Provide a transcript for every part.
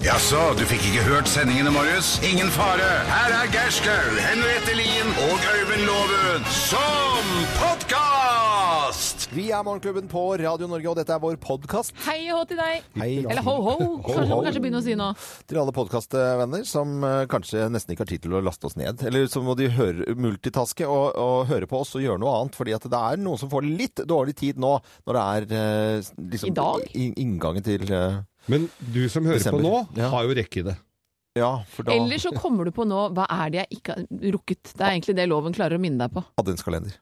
Jaså, du fikk ikke hørt sendingene, Marius? Ingen fare. Her er Gerskaug, Henriette Lien og Øyvind Loven som podkast! Vi er Morgenklubben på Radio Norge, og dette er vår podkast. Hei og hå til deg. Hei Eller ho ho, kanskje ho. man kanskje begynner å si nå. til alle podkastvenner som eh, kanskje nesten ikke har tid til å laste oss ned. Eller så må de høre, multitaske og, og høre på oss og gjøre noe annet. fordi at det er noen som får litt dårlig tid nå, når det er eh, liksom, I dag? i- inngangen til eh, Men du som hører Desember. på nå, Ja. har jo rekkevidde. Ja, for da Eller så kommer du på nå hva er det jeg ikke har rukket. Det er egentlig det loven klarer å minne deg på. adventskalender.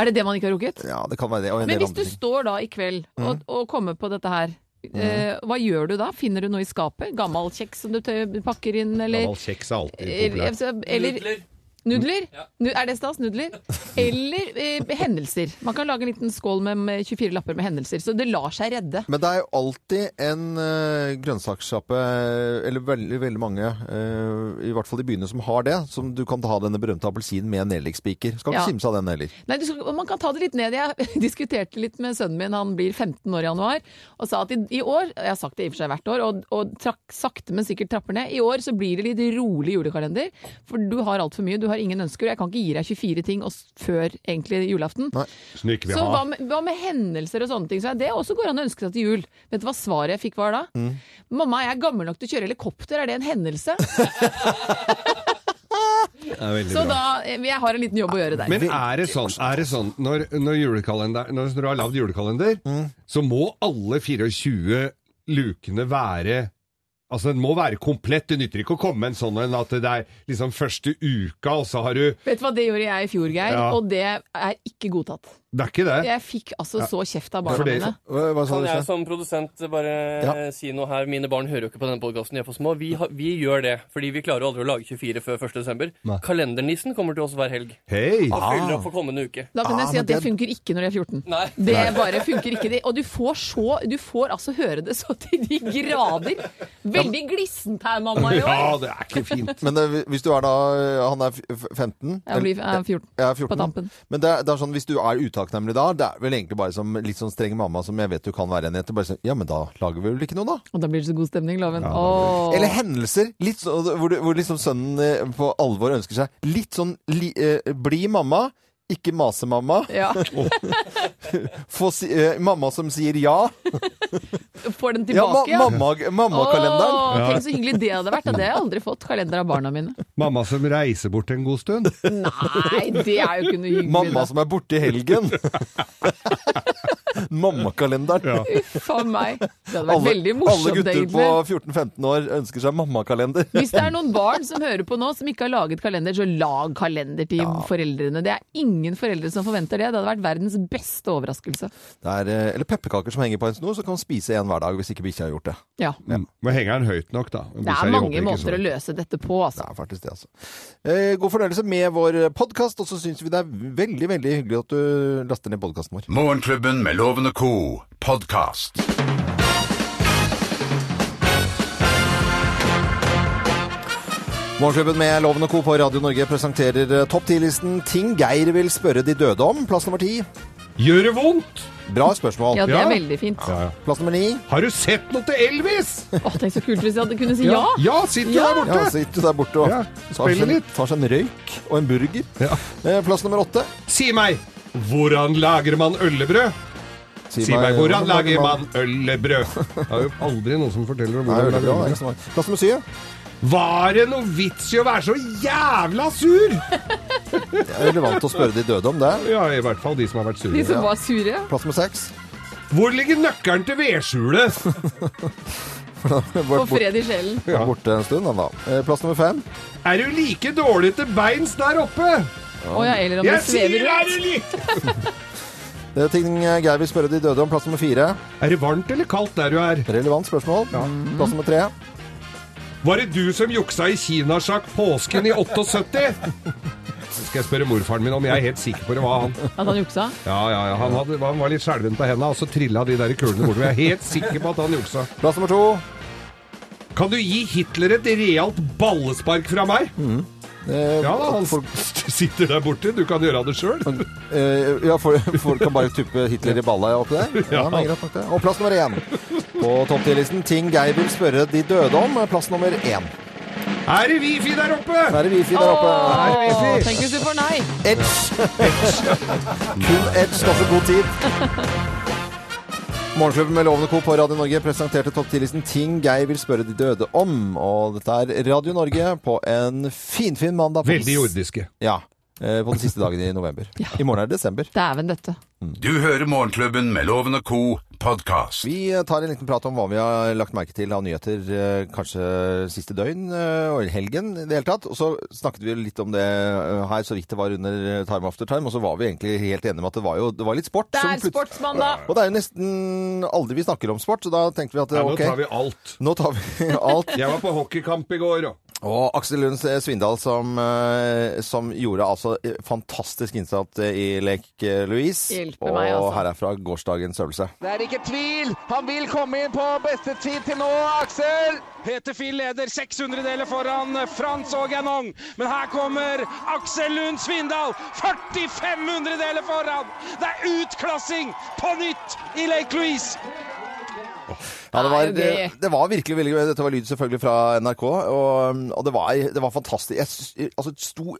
Er det det man ikke har rukket? Ja, det kan være det. Mm. Og en Men del hvis du andre ting. står da i kveld og, og kommer på dette her, Mm. eh, hva gjør du da? Finner du noe i skapet? Gammel kjeks som du tø- pakker inn, eller Eh, Gammel kjeks er alltid populært. Nudler. Nudler? Nu- Er det stas? Nudler? Eller eh, hendelser. Man kan lage en liten skål med, med 24 lapper med hendelser, så det lar seg redde. Men det er jo alltid en uh, grønnsakssjappe, eh, eller veldig, veldig mange, eh, i hvert fall i byene som har det, som du kan ta denne berømte appelsinen med nellikspiker. Skal ikke Ja. kimse av den heller. Nei, du skal, Man kan ta det litt ned. Jeg diskuterte litt med sønnen min, han blir 15 år i januar, og sa at i, i år Jeg har sagt det i og for seg hvert år, og, og trakk, sakte, men sikkert trapper ned. I år så blir det litt rolig julekalender, for du har altfor mye. Du har ingen ønsker, og jeg kan ikke gi deg 24 ting og s- før egentlig julaften. Nei. Som du ikke vil eh, Så hva ha. med, hva med hendelser og sånne ting? Så er det også går an å ønske seg til jul. Vet du hva svaret jeg fikk var da? Mm. Mamma, jeg er gammel nok til å kjøre helikopter, er det en hendelse? Det er veldig Så bra. da, eh, jeg har en liten jobb å gjøre der. Men er det sånn, er det sånn når, når, julekalender, når du har lagd julekalender, så må alle 24 lukene være Altså, Den må være komplett. Det nytter ikke å komme med en sånn en at det er liksom første uka, og så har du Vet du hva, det gjorde jeg i fjor, Geir, Ja. og det er ikke godtatt. Det er ikke det. Jeg fikk altså så kjeft av For barna det- mine. Hva, hva sa Kan du? jeg Svein? som produsent bare Ja. si noe her? Mine barn hører jo ikke på denne podkasten, de er for små. Vi, har, vi gjør det, fordi vi klarer jo aldri å lage 24 før 1. desember. Nei. Kalendernissen kommer til oss hver helg. Hei! Ah, Og fyller opp for kommende uke. Da kan Ah, jeg si men at det det- funker ikke når de er 14. Nei. Det bare funker ikke. det. Og du får så Du får altså høre det så til de grader. Veldig glissent her, mamma. i Ja, år. det er ikke fint. Men eh, hvis du er da eh, Han er f- 15? Jeg blir jeg er 14. Jeg er 14. På tampen. Men det er, det er sånn, hvis du er utakknemlig da, det er vel egentlig bare som litt sånn streng mamma som jeg vet du kan være en etter, bare sånn Ja, men da lager vi vel ikke noe, da? Og da blir det så god stemning, loven. Ja, da Åh. Eller hendelser litt så, hvor, du- hvor liksom sønnen eh, på alvor ønsker seg litt sånn li, eh, Bli mamma, ikke mase mamma. ja. Få si, eh, mamma som sier ja. Får den Ja, ma, tilbake, ja. mamma, mammakalenderen. Åh, Ja. Tenk så hyggelig det hadde vært. Da. Det har jeg aldri fått. Kalender av barna mine. Mamma som reiser bort en god stund. Nei, det er jo ikke noe hyggelig. Mamma da. som er borte i helgen. mammakalenderen. Ja. Uff a meg. Det hadde vært Alle, veldig alle morsomt, gutter egentlig. på 14-15 år ønsker seg mammakalender. Hvis det er noen barn som hører på nå som ikke har laget kalender, så lag kalender til foreldrene. Det er ingen foreldre som forventer det. Det hadde vært verdens beste overraskelse. Det er, eh, eller pepperkaker som henger på en snor, så kan man spise en hver dag hvis ikke bikkja har gjort det. Ja. Mm. Men henger den høyt nok, da? Det er mange måter å løse dette på, Det altså. er faktisk det, altså. Eh, god fornøyelse med vår podkast, og så syns vi det er veldig veldig hyggelig at du laster ned podkasten vår. Morgenklubben med Loven og co. podkast. Morgenklubben med Loven og Co. på Radio Norge presenterer eh, topp 10-listen Ting Geir vil spørre de døde om. Plass nummer ti. Gjør det vondt? Bra spørsmål. Ja, det er Ja. veldig fint. Å, Plass nummer ni. Har du sett noe til Elvis? tenk så kult hvis jeg hadde kunne si ja! Ja, sitter du der borte? Ja, sitter du der borte og Ja, tar, spiller seg, litt. tar seg en røyk og en burger. Ja. Eh, plass nummer åtte. Si meg, hvordan lager man øllebrød? Si meg, hvordan lager man øllebrød? Det er jo aldri noen som forteller om Nei, hvordan man veldig bra, det er lager ikke øllebrød. så mange. Plass nummer syv. Var det noe vits i å være så jævla sur? Det er relevant å spørre de døde om det. Ja, i hvert fall de som har vært De sure. som var sure. Plass nummer seks. Hvor ligger nøkkelen til vedskjulet? Og fred i sjelen. Ja. Borte en stund, han da. Eh, Plass nummer fem. Er du like dårlig til beins der oppe? Å ja, eller om det Jeg svever sier rundt. er du like Det er ting Geir vil spørre de døde om. Plass nummer fire. Er det varmt eller kaldt der du er? Relevant spørsmål. Plass nummer tre. Var det du som juksa i kinasjakk påsken i 78? Så skal jeg spørre morfaren min om jeg er helt sikker på det var han. At han juksa. Ja, ja, ja. Han, hadde, han var litt skjelven på henda, og så trilla de der kulene bortover. Jeg er helt sikker på at han juksa. Plass nummer to. Kan du gi Hitler et realt ballespark fra meg? Eh, Ja da, han folk, sitter der borte. Du kan gjøre det sjøl. eh, ja, folk, folk kan bare tuppe Hitler i balla oppi der. Ja, Ja. det er greit nok det. Og plass nummer én på topp 10-listen. Ting Geir vil spørre de døde om. Plass nummer én. Er det Wifi der oppe? Da er det Wifi der oppe. Åh, tenk hvis du får nei! Edge. Kun Edge skaffer god tid. Morgenklubben med Lovende Co. på Radio Norge presenterte topp 10-listen Ting Geir vil spørre de døde om. Og dette er Radio Norge på en finfin fin mandag. på den Veldig s- jordiske. Ja. eh, På den siste dagen i november. I morgen er det desember. Dæven døtte. Du hører Morgenklubben med Loven og Co. podkast. Vi eh, tar en liten prat om hva vi har lagt merke til av nyheter eh, kanskje siste døgn eh, og i helgen i det hele tatt. Og så snakket vi jo litt om det eh, her så vidt det var under eh, Time After Time, og så var vi egentlig helt enige om at det var jo det var litt sport. Det som er plutselig- sportsmandag! Og det er jo nesten aldri vi snakker om sport, så da tenkte vi at Ja, nå ok, tar vi alt. nå tar vi alt. Jeg var på hockeykamp i går, og Og Aksel Lund Svindal som, eh, som gjorde altså eh, fantastisk innsats i Lek eh, Louise. Hjelpe og meg, altså. her er fra gårsdagens øvelse. Det er ikke tvil! Han vil komme inn på beste tid til nå, Aksel! Peter Finn leder 600-deler foran Frans og Ganong. Men her kommer Aksel Lund Svindal! 4500-deler foran! Det er utklassing på nytt i Lake Louise! Ja, det var, Nei, det, det- det var virkelig veldig gøy. Dette var lyd selvfølgelig fra NRK, og, og det, var, det var fantastisk. Jeg s- altså, sto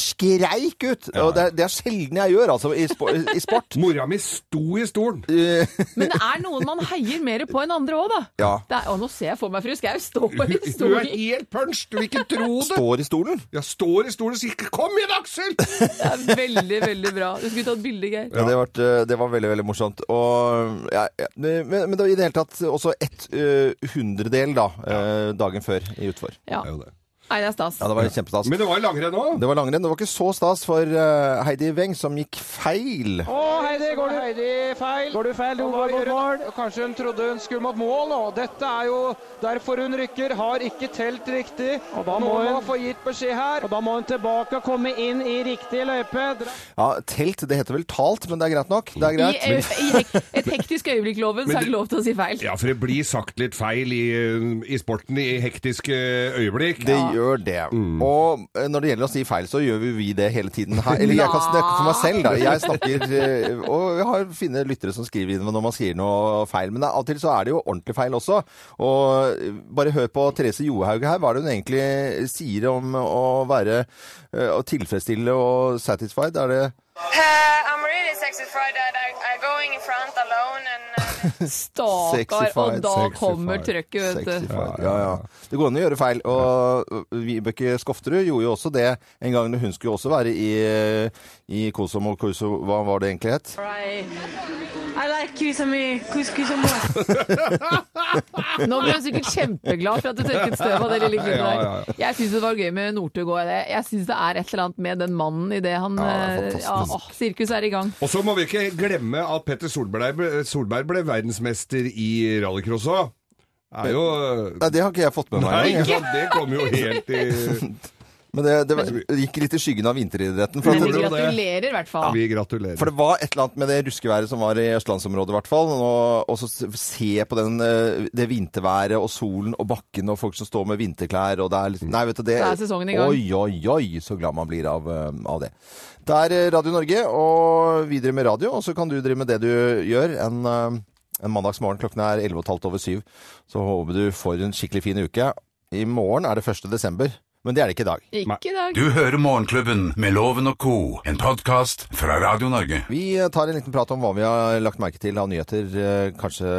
skreik ut! Og det, er- det er sjelden jeg gjør, altså, i, spo- i sport. mora mi sto i stolen. Men det er noen man heier mer på enn andre òg, da. Ja. Det er, å, nå ser jeg for meg fru Skau stå i Hun er stolen. helt punch, du vil ikke tro det. Står i stolen. Jeg står i stolen og sier 'kom igjen, Aksel'! Det er veldig, veldig bra. Du skulle tatt bilde, Geir. Ja. Det, har vært, det var veldig, veldig morsomt. Og, ja, ja, men, men det var i det hele tatt også ett eh, hundredel da, eh, dagen før i utfor. Ja. Det er jo det. Nei, det er stas. Ja, det var kjempestas. Men det var jo langrenn òg. Det var langrenn. Det var ikke så stas for eh, Heidi Weng, som gikk feil. Å, Heidi, går du Heidi feil? Går du feil? Hun var mot mål. Kanskje hun trodde hun skulle mot mål, og dette er jo derfor hun rykker. Har ikke telt riktig. Og da må Noen må få gitt beskjed her. Og da må hun tilbake og komme inn i riktig løype. Dra Ja, telt, det heter vel talt, men det er greit nok. Det er greit. I, eh, i hek, et hektisk øyeblikk-loven så er det lov til å si feil. Ja, for det blir sagt litt feil i, i sporten i hektiske øyeblikk. Det gjør det. Og eh, når det gjelder å si feil, så gjør jo vi det hele tiden her. Eller jeg kan snakke for meg selv, da. Jeg snakker eh, Og jeg har fine lyttere som skriver inn når man skriver noe feil. Men det- av og til så er det jo ordentlig feil også. Og eh, bare hør på Therese Johaug her. Hva er det hun egentlig sier om å være eh, å tilfredsstille og satisfied? Er det Uh, I'm really satisfied that I, I'm going in front alone and. Uh, Stakkar, og Sexified, da sexified, kommer trøkket, vet du. Sexified. Ja, ja. Det går an å gjøre feil. Og øh, Vibeke Skofterud gjorde jo også det en gang hun skulle også være i, øh, i Kosomo Koso, Hva var det egentlig het? I, I like kusami, kus, kusamo. Nå ble hun sikkert kjempeglad for at du tørket støv av det lille klippet Ja, ja, der. Jeg syns det var gøy med Northug òg. Jeg syns det er et eller annet med den mannen i det han Ja, det er eh, ja, fantastisk. åh, Sirkus er i gang. Og så må vi ikke glemme at Petter Solberg ble, Solberg ble verdensmester i rallycross òg. Er jo Nei, det har ikke jeg fått med Nei, meg. ikke engang. sant? Det kom jo helt i Men det, det, var- det gikk litt i skyggen av vinteridretten. For, Men Gjorde at, det? gratulerer, i hvert fall. Vi gratulerer. for det var et eller annet med det ruskeværet som var i østlandsområdet, i hvert fall. Og, og så se på den, eh, det vinterværet og solen og bakken og folk som står med vinterklær og det er litt Nei, vet du det Da er sesongen i gang. Oi, oi, oi, så glad man blir av, eh, av det. Det er eh, Radio Norge, og vi driver med radio, og så kan du drive med det du gjør. En, eh, en mandagsmorgen klokken er 11.30 over syv. Så håper du får en skikkelig fin uke. I morgen er det 1. desember, men det er det ikke i dag. Ikke i dag. Du hører Morgenklubben med Loven og Co., en podkast fra Radio Norge. Vi tar en liten prat om hva vi har lagt merke til av nyheter eh, kanskje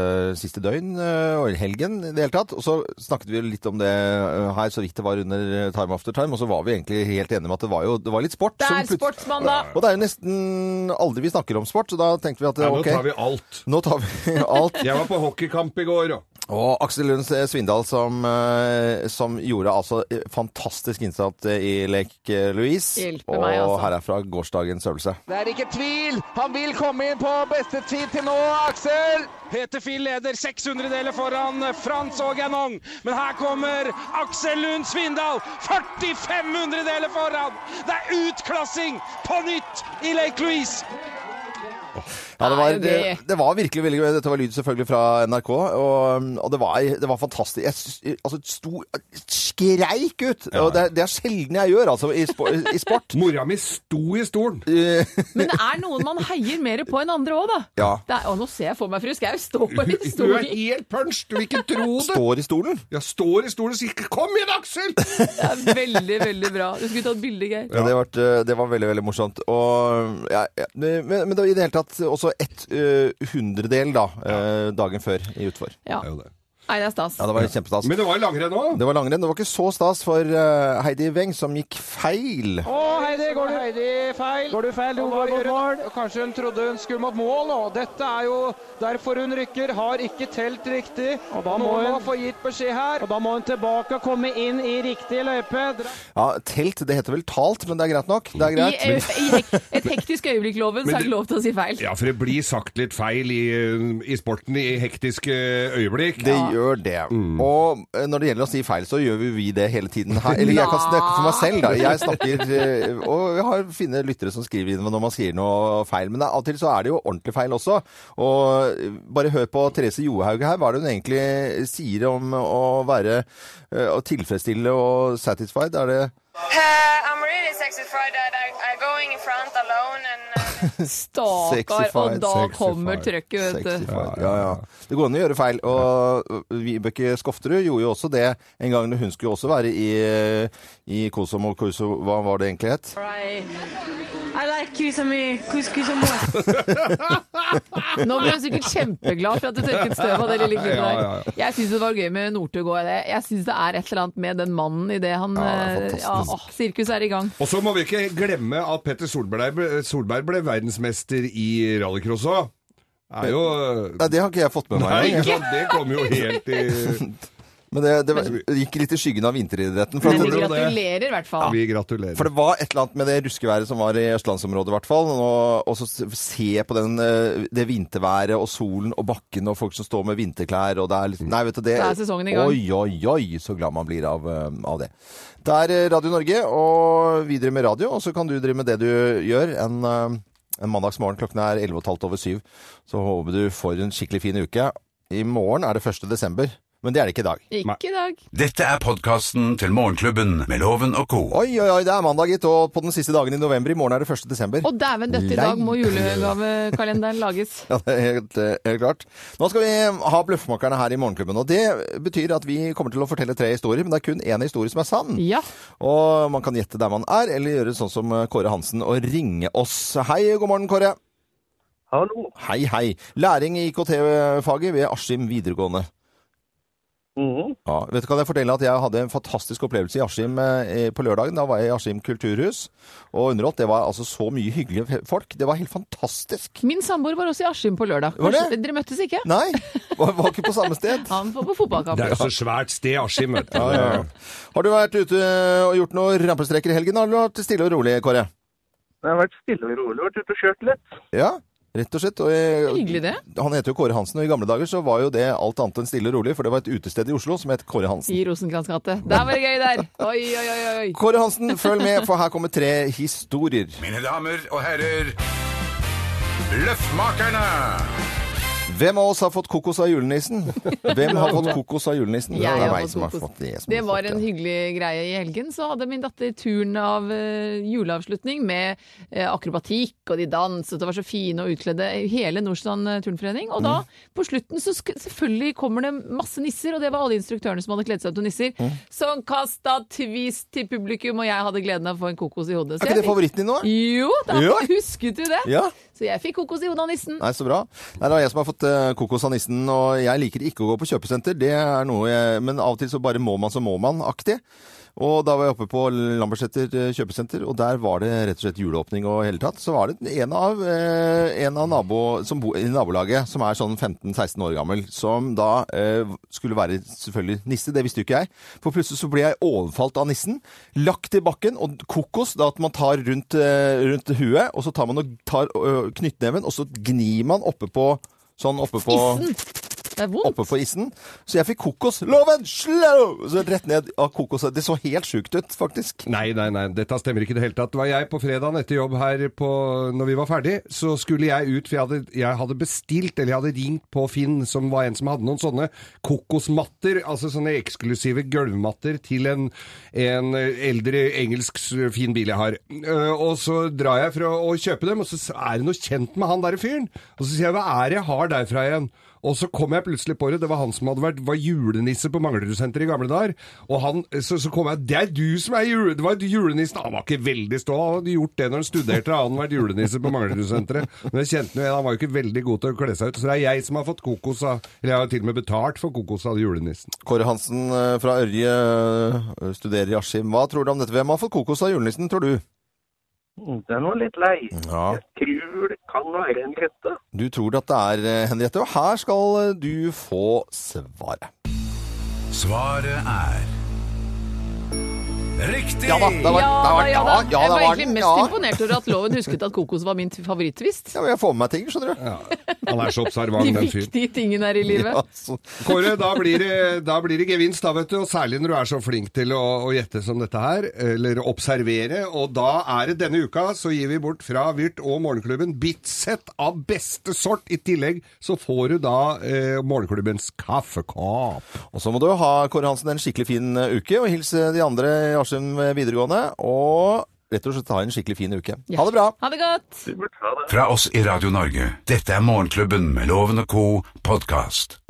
siste døgn eh, og i helgen i det hele tatt. Og så snakket vi jo litt om det eh, her så vidt det var under eh, Time After Time, og så var vi egentlig helt enige om at det var jo det var litt sport. Det som er plut- sportsmandag! Og det er jo nesten aldri vi snakker om sport, så da tenkte vi at eh, Nei, nå tar ok, vi alt. nå tar vi alt. Jeg var på hockeykamp i går, og Og Aksel Lund Svindal som, eh, som gjorde altså eh, fantastisk innsats eh, i Lek Louise. Hjelpe og meg, altså. her er fra gårsdagens øvelse. Det er ikke tvil! Han vil komme inn på beste tid til nå, Aksel! Peter Finn leder 600-deler foran Frans og Ganong. Men her kommer Aksel Lund Svindal! 4500-deler foran! Det er utklassing på nytt i Lake Louise! Ja, det var, Nei, det, det- det var virkelig veldig gøy. Dette var lyd selvfølgelig fra NRK, og, og det, var, det var fantastisk. Jeg s- altså, sto skreik ut! Og det, det er sjelden jeg gjør, altså, i, spo, i sport. Mora mi sto i stolen. Men det er noen man heier mer på enn andre òg, da. Ja. Det er, å, nå ser jeg for meg fru Skau stå i Du er stolen. helt punch, du vil ikke tro det! Står i stolen. Jeg står i stolen og sier 'kom igjen, Aksel'! Det er veldig, veldig bra. Du skulle tatt bilde, Geir. Ja. Det, var, det var veldig, veldig morsomt. Og, ja, ja, men, men det var i det hele tatt også ett eh, hundredel da, eh, dagen før i utfor. Ja. Det er jo det. Nei, det er stas. Ja, det var kjempestas. Men det var jo langrenn òg. Det var langrenn. Det var ikke så stas for eh, Heidi Weng, som gikk feil. Å, Heidi, går du Heidi feil? Går du feil? Hun går mot mål. Kanskje hun trodde hun skulle mot mål, og dette er jo derfor hun rykker. Har ikke telt riktig. Og da må hun få gitt beskjed her. Og da må hun tilbake og komme inn i riktig løype. Ja, telt, det heter vel talt, men det er greit nok. Det er I, greit. eh, i hek, et hektisk øyeblikk-loven så Men er det det- lov til å si feil. Ja, for det blir sagt litt feil i, i sporten i hektiske øyeblikk. Det gjør det. Og eh, når det gjelder å si feil, så gjør jo vi det hele tiden her. Eller jeg kan snakke for meg selv, da. Jeg snakker eh, Og jeg har fine lyttere som skriver inn når man sier noe feil. Men det- av og til så er det jo ordentlig feil også. Og eh, bare hør på Therese Johaug her. Hva er det hun egentlig sier om å være eh, å tilfredsstille og satisfied? Er det Uh, I'm really satisfied that I, I'm going in front alone and. Uh, Stakkar, og Sexified, da sexified, kommer trøkket, vet du. Sexified. Ja, ja. Det går an å gjøre feil. Og Vibeke Skofterud gjorde jo også det en gang. Hun skulle jo også være i, eh, i Kosovo Kosovo, Hva var det egentlig het? I, I like you some couscous and more. Nå ble hun sikkert kjempeglad for at du tørket støv av det lille klippet Ja, ja, ja. der. Jeg syns det var gøy med Northug òg. Jeg syns det er et eller annet med den mannen i det han Ja, det er eh, ja, fantastisk. åh, Sirkus er i gang. Og så må vi ikke glemme at Petter Solberg ble, Solberg ble verdensmester i rallycross òg. Er jo Nei, det har ikke jeg fått med Nei, meg. ikke engang. sant? Det kom jo helt i Men det, det var- gikk litt i skyggen av vinteridretten. For, Men vi at, det- gratulerer i hvert fall. Vi for gratulerer. det var et eller annet med det ruskeværet som var i østlandsområdet, i hvert fall. Og, og så se på den, eh, det vinterværet og solen og bakken og folk som står med vinterklær og det er liksom Nei, vet du det Da er sesongen i gang. Oi, oi, oi, så glad man blir av, eh, av det. Det er eh, Radio Norge, og vi driver med radio, og så kan du drive med det du gjør. En, eh, en mandagsmorgen klokken er 11.30 over syv. Så håper du får en skikkelig fin uke. I morgen er det 1. desember, men det er det ikke i dag. Ikke i dag. Dette er podkasten til Morgenklubben med Loven og co. Oi, oi, oi, det er mandag, gitt, og på den siste dagen i november. I morgen er det 1. desember. Og dæven døtte, i Lei. dag må julegavekalenderen lages. Ja, det er helt, eh, helt klart. Nå skal vi ha Bløffmakerne her i Morgenklubben. Og det betyr at vi kommer til å fortelle tre historier, men det er kun én historie som er sann. Ja. Og man kan gjette der man er, eller gjøre sånn som eh, Kåre Hansen og ringe oss. Hei, god morgen, Kåre. Hallo. Hei, hei. Læring i IKT-faget ved Askim videregående. Mhm. Ja, vet du, kan jeg fortelle at jeg hadde en fantastisk opplevelse i Askim eh, på lørdagen. Da var jeg i Askim kulturhus og underholdt. Det var altså så mye hyggelige fe- folk. Det var helt fantastisk. Min samboer var også i Askim på lørdag. Var det? Kanskje- Dere møttes ikke? Nei, var, var ikke på samme sted. Han var på Det er fotballkamp. jo så svært sted, Askim. vet du. Ja, ja, ja. Har du vært ute og gjort noen rampestreker i helgen, eller har du vært stille og rolig, Kåre? Jeg har vært stille og rolig, vært ute og kjørt litt. Ja, rett og slett. Og jeg, Hyggelig det. Han heter jo Kåre Hansen, og i gamle dager så var jo det alt annet enn stille og rolig, for det var et utested i Oslo som het Kåre Hansen. I Rosenkrantz gate. Der var det gøy, der! Oi, oi, oi, oi. Kåre Hansen, følg med, for her kommer tre historier. Mine damer og herrer, Løffmakerne! Hvem av oss har fått kokos av julenissen? Hvem har fått kokos av julenissen? det Jeg er har meg fått som har kokos. fått det. som Det har var fått en hyggelig greie i helgen. Så hadde min datter turen av eh, juleavslutning med eh, akrobatikk, og de danset og var så fine og utkledde. Hele Nordstrand eh, turnforening. Og Mm. da, på slutten, så sk selvfølgelig kommer det masse nisser, og det var alle instruktørene som hadde kledd seg ut til nisser. Mm. Som kasta twist til publikum, og jeg hadde gleden av å få en kokos i hodet. Er Så ikke jeg det fikk- favoritten din nå? Jo, da Ja. husket du det? Ja. Så jeg fikk kokos i hodet av nissen. Nei, så bra. Nei, det er jeg som har fått eh, kokos av nissen, og jeg liker ikke å gå på kjøpesenter. Det er noe jeg, Men av og til så bare må man så må man-aktig. Og da var jeg oppe på Lambertseter eh, kjøpesenter, og der var det rett og slett juleåpning og hele tatt. Så var det en av, eh, en av nabo, som bo, i nabolaget, som er sånn 15-16 år gammel, som da eh, skulle være selvfølgelig nisse. Det visste jo ikke jeg. For plutselig så ble jeg overfalt av nissen, lagt i bakken, og kokos, da at man tar rundt, eh, rundt huet, og så tar man og tar ø, knyttneven, og så gnir man oppe på Sånn oppe på Nissen! Det er vondt. oppe på isen. Så jeg fikk kokosloven! Slow! Så rett ned av kokos. Det så helt sjukt ut, faktisk. Nei, nei, nei, dette stemmer ikke i det hele tatt. Det var jeg på fredagen etter jobb her på, når vi var ferdig, så skulle jeg ut, for jeg hadde, jeg hadde bestilt, eller jeg hadde ringt på Finn, som var en som hadde noen sånne kokosmatter, altså sånne eksklusive gulvmatter til en, en eldre engelsk s- fin bil jeg har. Eh, Og så drar jeg for å, å kjøpe dem, og så s- er det noe kjent med han der fyren. Og så sier jeg, hva er det jeg har derfra igjen? Og så kom jeg plutselig på det, det var han som hadde vært var julenisse på Manglerudsenteret i gamle dager. Og han, så, så kom jeg Det er du som er jule, det var du julenissen! Han var ikke veldig stå, han hadde gjort det når han studerte, han hadde vært julenisse på Manglerudsenteret. Men jeg kjente jo en, han var jo ikke veldig god til å kle seg ut. Så det er jeg som har fått kokos av Eller jeg har til og med betalt for kokos av julenissen. Kåre Hansen eh, fra Ørje eh, studerer i Askim. Hva tror du om dette? Hvem har fått kokos av julenissen, tror du? Mm, Den var litt lei. Ja. Jeg tror det kan være en rette. Du tror at det er eh, Henriette, og her skal eh, du få svaret. Svaret er Riktig! Ja da, det var, Ja, det var, ja, ja, da. jeg det var var egentlig den. mest Ja. imponert over at loven husket at kokos var min favoritttvist. Ja, men jeg får med meg ting, skjønner du. Han er så De observant, den fyren. viktige tingene her i livet. Ja, så- Kåre, da blir, det, da blir det gevinst, da, vet du. Og særlig når du er så flink til å, å gjette som dette her, eller observere. Og da er det denne uka, så gir vi bort fra Vyrt og Morgenklubben Bitset av beste sort. I tillegg så får du da eh, Morgenklubbens kaffekopp. Og så må du ha, Kåre Hansen, en skikkelig fin eh, uke, og hilse de andre i Askim eh, videregående, og rett og slett ha en skikkelig fin uke. Ha det bra! Ha det godt! Supert. Ha det. Fra oss i Radio Norge. Dette er Morgenklubben med Loven og co. podkast.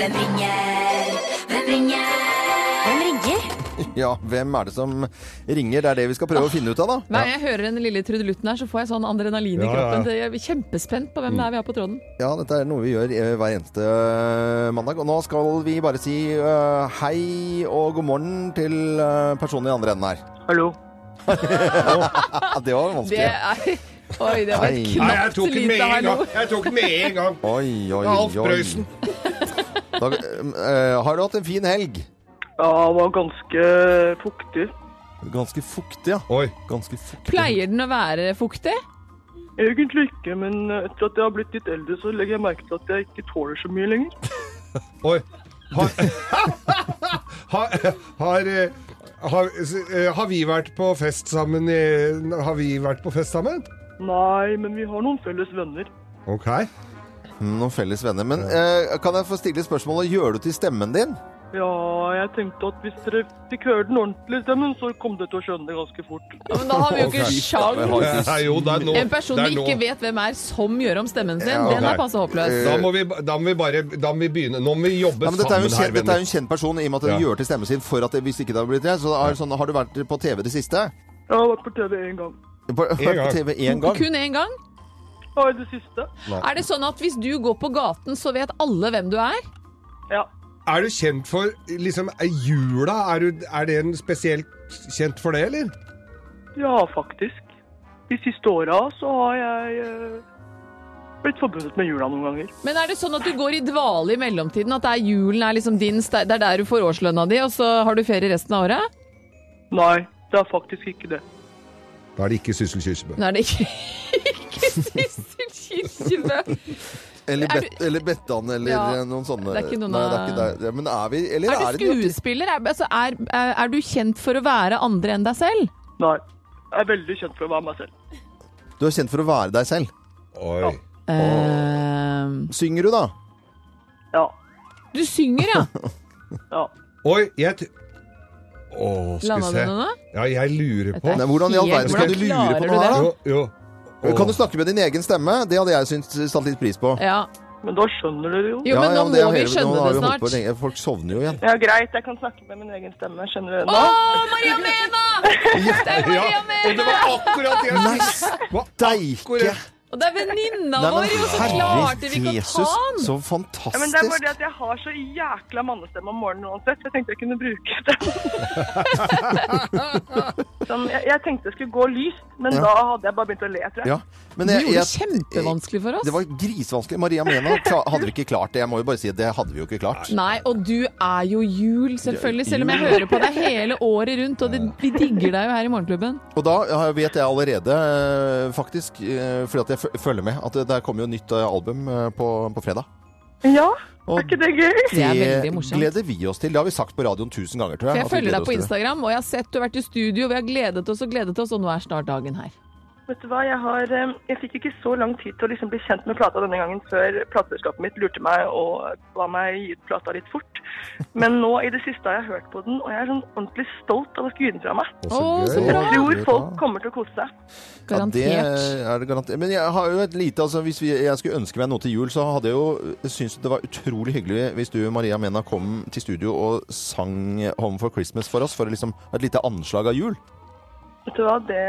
Hvem ringer? Hvem ringer? Hvem ringer? Ja, hvem er det som ringer? Det er det vi skal prøve å finne ut av, da. Hver gang jeg hører den lille trudelutten her, så får jeg sånn adrenalin i Ja, ja, ja. kroppen. Det- Jeg er kjempespent på hvem det er vi har på tråden. Ja, dette er noe vi gjør eh, hver eneste eh, mandag. Og nå skal vi bare si eh, hei og god morgen til eh, personen i andre enden her. Hallo. Ja, det var Det vanskelig. er Oi, det var Nei. et Nei, jeg knapt tok den lite med en hallo. gang! Jeg tok den med en gang! Oi, oi, Alf oi. Prøysen. Da, eh, har du hatt en fin helg? Ja, det var ganske fuktig. Ganske fuktig, ja. Oi. Ganske fuktig. Pleier den å være fuktig? Egentlig ikke, men etter at jeg har blitt litt eldre, så legger jeg merke til at jeg ikke tåler så mye lenger. Oi. Har, har, har, eh, har, eh, har vi vært på fest sammen i Har vi vært på fest sammen? Nei, men vi har noen felles venner. OK. Mm, Noen felles venner. Men eh, kan jeg få stille spørsmålet, gjør du til stemmen din? Ja, jeg tenkte at hvis dere fikk høre den ordentlige stemmen, så kom dere til å skjønne det ganske fort. Ja, Men da har vi jo ikke Ok. sjans. Nei, jo, det er nå. En person det er vi nå. ikke vet hvem er, som gjør om stemmen sin, Ja, den nei. er passe håpløs. Da må, vi, da må vi bare da må vi begynne. Nå må vi jobbe Ja, men dette er jo en kjent, sammen her, dette er venner. jo en kjent person, i og med at Ja. du gjør til stemmen sin for at det, hvis ikke det hadde blitt det. Så er det sånn, har du vært på TV det siste? Jeg har vært på TV én gang. På, vært på gang. TV én gang? Kun én gang. Ja, i det siste. Er det sånn at hvis du går på gaten, så vet alle hvem du er? Ja. Er du kjent for liksom, er jula? Er, du, er det en spesielt kjent for det, eller? Ja, faktisk. De siste åra så har jeg eh, blitt forbundet med jula noen ganger. Men er det sånn at du går i dvale i mellomtiden? At det er julen er liksom din ste- Det er der du får årslønna di, og så har du ferie resten av året? Nei, det er faktisk ikke det. Da er det ikke Syssel Kyrkjebø. Nå er det ikke ikke Sissel Kyrkjebø. Eller, Er bet, eller Bettan, eller eh, Ja. noen sånne. Det er ikke noen Nei, av- det er ikke der. Men er vi Eller er, Er du det de- skuespiller? Er, altså, er, er du kjent for å være andre enn deg selv? Nei. Jeg er veldig kjent for å være meg selv. Du er kjent for å være deg selv. Oi. Ehm, Synger du, da? Ja. du synger, ja. ja. Oi, jeg t Å, skal vi Landa du se. det nå? Ja, jeg lurer på Dette Nei, hvordan i all Helt- verden skal du hvordan lure på noe klarer her, du Jo, jo. da? Å. Kan du snakke med din egen stemme? Det hadde jeg syntes satt litt pris på. Ja. Men da skjønner dere jo. Jo, Ja, men ja, nå det må har vi hele- nå skjønne har det vi holdt snart. på lenge. Folk sovner jo igjen. Ja, greit. Jeg kan snakke med min egen stemme. Skjønner dere Å, nå? Maria Mena! Det er Maria Ja, og det Mena! var akkurat det jeg Nei, skulle Hva? steike! Akkurat. Og det er venninna Nei, men vår, jo! Så herre klarte vi ikke å ta Jesus, Så han! Ja, men det er fantastisk. bare det at jeg har så jækla mannestemme om morgenen uansett. så Jeg tenkte jeg kunne bruke den. sånn, jeg, jeg tenkte det skulle gå lyst, men Ja. da hadde jeg bare begynt å le, tror jeg. Ja, men Du jeg, gjorde det jeg, eh, kjempevanskelig for det oss. var grisevanskelig. Maria Mena kla- hadde vi ikke klart det. Jeg må jo bare si at det hadde vi jo ikke klart. Nei, og du er jo jul, selvfølgelig. Selv om jeg hører på deg hele året rundt, og det, vi digger deg jo her i Morgenklubben. Og da har- vet jeg allerede, eh, faktisk, eh, fordi at jeg fø- følger med, at det- der kommer jo nytt eh, album eh, på, på fredag. Ja, Og er ikke det gøy? gleder vi oss til. Det har vi sagt på radioen tusen ganger, tror jeg. For jeg at vi følger gleder deg på oss til det. Instagram, og jeg har sett du har vært i studio. Vi har gledet oss og gledet oss, og nå er snart dagen her. Vet du hva, jeg, har, eh, jeg fikk ikke så lang tid til å liksom bli kjent med plata denne gangen før plateselskapet mitt lurte meg og ba meg gi ut plata litt fort. Men nå i det siste har jeg hørt på den, og jeg er sånn ordentlig stolt av å skue den fra meg. Å, så Å, så gøy. bra. Jeg tror folk kommer til å kose seg. Ja, det er det garantert. Men jeg har jo et lite altså, Hvis vi, jeg skulle ønske meg noe til jul, så hadde jeg jo eh, syntes det var utrolig hyggelig hvis du, Maria Mena, kom til studio og sang 'Home for Christmas' for oss, for liksom et lite anslag av jul. Vet du hva, det,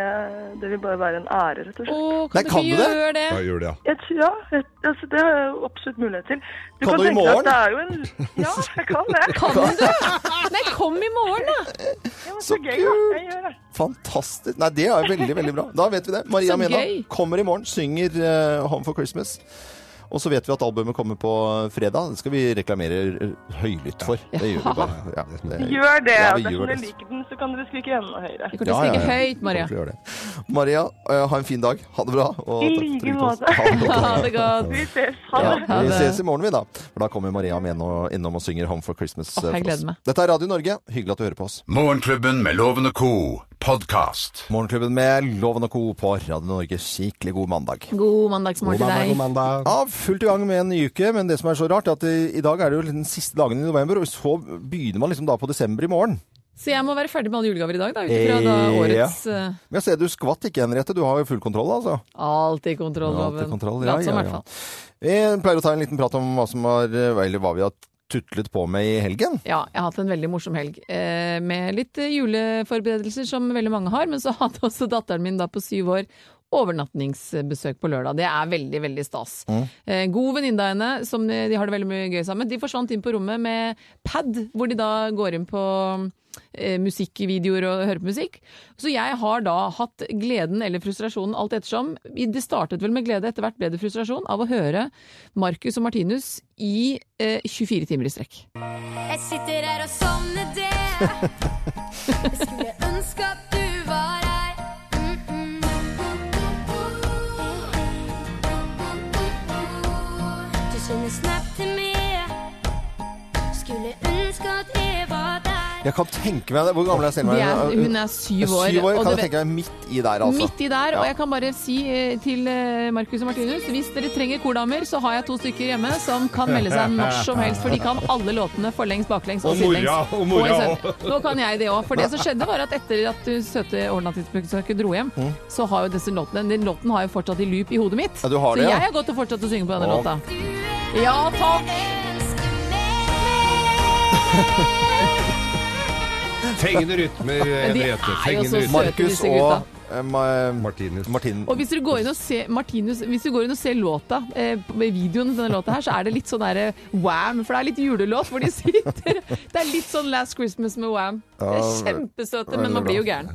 det vil bare være en ære, rett og slett. Åh, kan Nei, du kan ikke du det? gjøre det? Ja, gjør det, ja. Jeg, tror- ja, jeg, altså, det har jeg jo absolutt mulighet til. Kan du i tenke deg morgen? at det er jo en... Ja, jeg kan det. Kan du? Nei, kom i morgen, da! Så gøy, da. Jeg gjør det. Fantastisk. Nei, det er veldig, veldig bra. Da vet vi det. Maria Så Mena gøy. kommer i morgen, synger eh, 'Home for Christmas'. Og så vet vi at albumet kommer på fredag. Det skal vi reklamere eh, høylytt for. Det gjør vi bare. Ja, det- Gjør det. Ja, og vi gjør Dersom det. dere liker den, så kan dere skrike enda høyere. Vi kommer til å skrike høyt, Maria. Kommer til å gjøre det. Maria, eh, ha en fin dag. Ha det bra. og I takk for like ringeposten. måte. Ha det godt. Vi ses. Ha det. Ja, vi ses i morgen, vi, da. For da kommer Maria med nå innom og synger 'Home for Christmas'. jeg eh, for oss. gleder meg. Dette er Radio Norge. Hyggelig at du hører på oss. Morgenklubben med Loven og co. podkast. Morgenklubben med Loven og Co. på Radio Norge. Skikkelig god mandag. God mandagsmorgen til deg. Ja, fullt i gang med en ny uke, men det som er så rart, er at i, i dag er det jo liksom den siste dagen i november, og så begynner man liksom da på desember i morgen. Så jeg må være ferdig med alle julegaver i dag, da, ut ifra da Eh, årets ja. eh, Men jeg ser du skvatt ikke, Henriette. Du har jo full kontroll, altså. Alt i kontroll, Ja, loven. til kontroll. Ja, Latt som, ja, i ja. hvert fall. Vi pleier å ta en liten prat om hva som var, eller hva vi har tutlet på med i helgen. Ja, jeg har hatt en veldig morsom helg. Eh, med litt eh, juleforberedelser, som veldig mange har. Men så hadde også datteren min da på syv år overnattingsbesøk på lørdag. Det er veldig, veldig stas. Eh, God venninne av henne, som eh, de har det veldig mye gøy sammen med, de forsvant inn på rommet med pad, hvor de da går inn på eh, musikkvideoer og hører på musikk. Så jeg har da hatt gleden eller frustrasjonen, alt ettersom. I- Det startet vel med glede, etter hvert ble det frustrasjon av å høre Marcus og Martinus i eh, 24 timer i strekk. Jeg sitter her og sovner det. Jeg skulle ønske at du var her. Mm -mm. Du sender snap til meg. Skulle ønske at jeg var der. Jeg kan tenke meg det. Hvor gammel er Selma? De er- hun er syv år, Syv år og kan det- jeg tenke meg midt i der, altså. Midt i der, Ja. og jeg kan bare si eh, til eh, Marcus og Martinus Hvis dere trenger kordamer, så har jeg to stykker hjemme som kan melde seg når som helst, for de kan alle låtene forlengs, baklengs og Og mora, sidelengs. og mora i søvn. også. Nå kan jeg det òg. For det som skjedde, var at etter at du søte overnattingsbesøket dro hjem, så har jo disse låtene Den låten har jo fortsatt i loop i hodet mitt. Mm. Ja, du har så det, ja. jeg har gått og fortsatt å synge på denne Å. låta. Ja, takk! Fengende rytmer, Henriette. Fengende rytmer. Markus og eh, Ma- Martin. Og hvis du går inn og ser, Martinus, hvis du går inn og ser låta, eh, på- med videoen til denne låta her, så er det litt sånn derre wham, for det er litt julelåt hvor de sitter. Det er litt sånn Last Christmas med wham. Det er Ja, kjempesøte, men man blir jo gæren.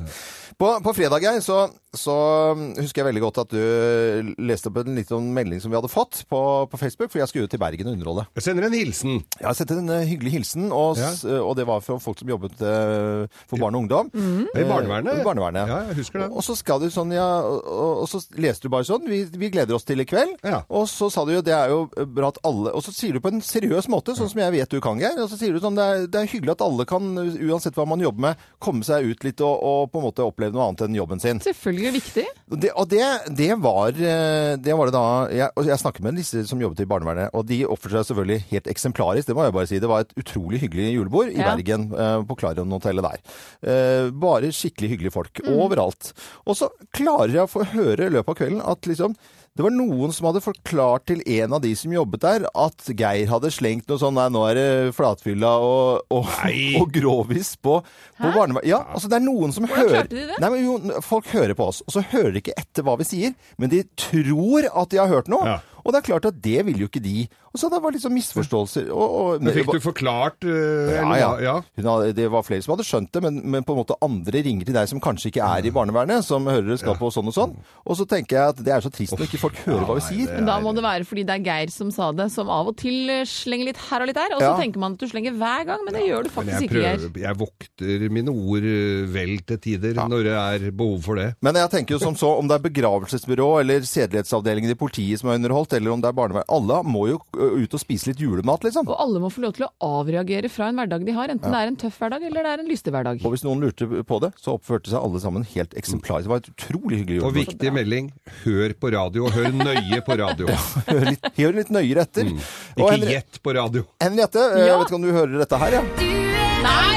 På, på fredag jeg, så, så mm, husker jeg veldig godt at du eh, leste opp en liten melding som vi hadde fått på, på Facebook, for jeg skulle jo til Bergen og underholde. Jeg sender en hilsen. Jeg har sendt en eh, hyggelig hilsen, og, s- eh, og det var fra folk som jobbet eh, for barn og ungdom. I barnevernet? Eh, I barnevernet. Ja, jeg husker det. Og så, skal du sånn, ja, og, og så leste du bare sånn, vi, vi gleder oss til i kveld. Og så sa du jo, det er jo eh, bra at alle, og så sier du på en seriøs måte, sånn som jeg vet du kan, Geir, og så sier du sånn, det er, det er hyggelig at alle kan, eh, uansett hva man jobber med, komme seg ut litt og, og på en måte oppleve noe annet enn jobben sin. Selvfølgelig viktig. Det, og det, det, var, eh, det var det da jeg, og jeg snakket med disse som jobbet i barnevernet, og de oppførte seg selvfølgelig helt eksemplarisk. Det må jeg bare si. Det var et utrolig hyggelig julebord i Ja. Bergen, eh, på Klarion-hotellet der. Eh, Bare skikkelig hyggelige folk Mm. overalt. Og så klarer jeg å få høre i løpet av kvelden at liksom det var noen som hadde forklart til en av de som jobbet der, at Geir hadde slengt noe sånn Nei, nå er det flatfylla og, og, og grovis på, på barnevernet. Ja, altså det er noen som Hvordan hører klarte de det? Nei, men jo, folk hører på oss, og så hører de ikke etter hva vi sier, men de tror at de har hørt noe. Og det er klart at det vil jo ikke de. Og så det var liksom misforståelser. Og, og, Men fikk du forklart eh, ja, eller ja. hva? ja. Hun hadde, det var flere som hadde skjønt det, men, men på en måte andre ringer til deg som kanskje ikke er Mm. i barnevernet, som hører det skal på sånn og sånn. Og så tenker jeg at det er så trist når ikke folk hører hva vi sier. Men da må det være fordi det er Geir som sa det, som av og til eh, slenger litt her og litt der, og så Ja. tenker man at du slenger hver gang, men det gjør du Men faktisk jeg, ikke, Geir. prøver, jeg vokter mine ord eh, vel til tider når det er behov for det. Men jeg tenker jo som så, om det er begravelsesbyrå eller sedelighetsavdelingen i politiet som er underholdt, eller om det er barnevern, alle må jo ø, ut og spise litt julemat, liksom. Og alle må få lov til å avreagere fra en hverdag de har, enten det er en tøff hverdag eller det er en lystig hverdag. Og hvis noen lurte på det, så oppførte seg alle sammen helt eksemplarisk. Det var et utrolig hyggelig Og julemat. viktig melding, hør på radio, og hør nøye på radio. Hør litt, hør litt nøyere etter. Og Mm. Ikke Henri- gjett på radio. Henriette, ø, jeg vet ikke om du hører dette her, ja?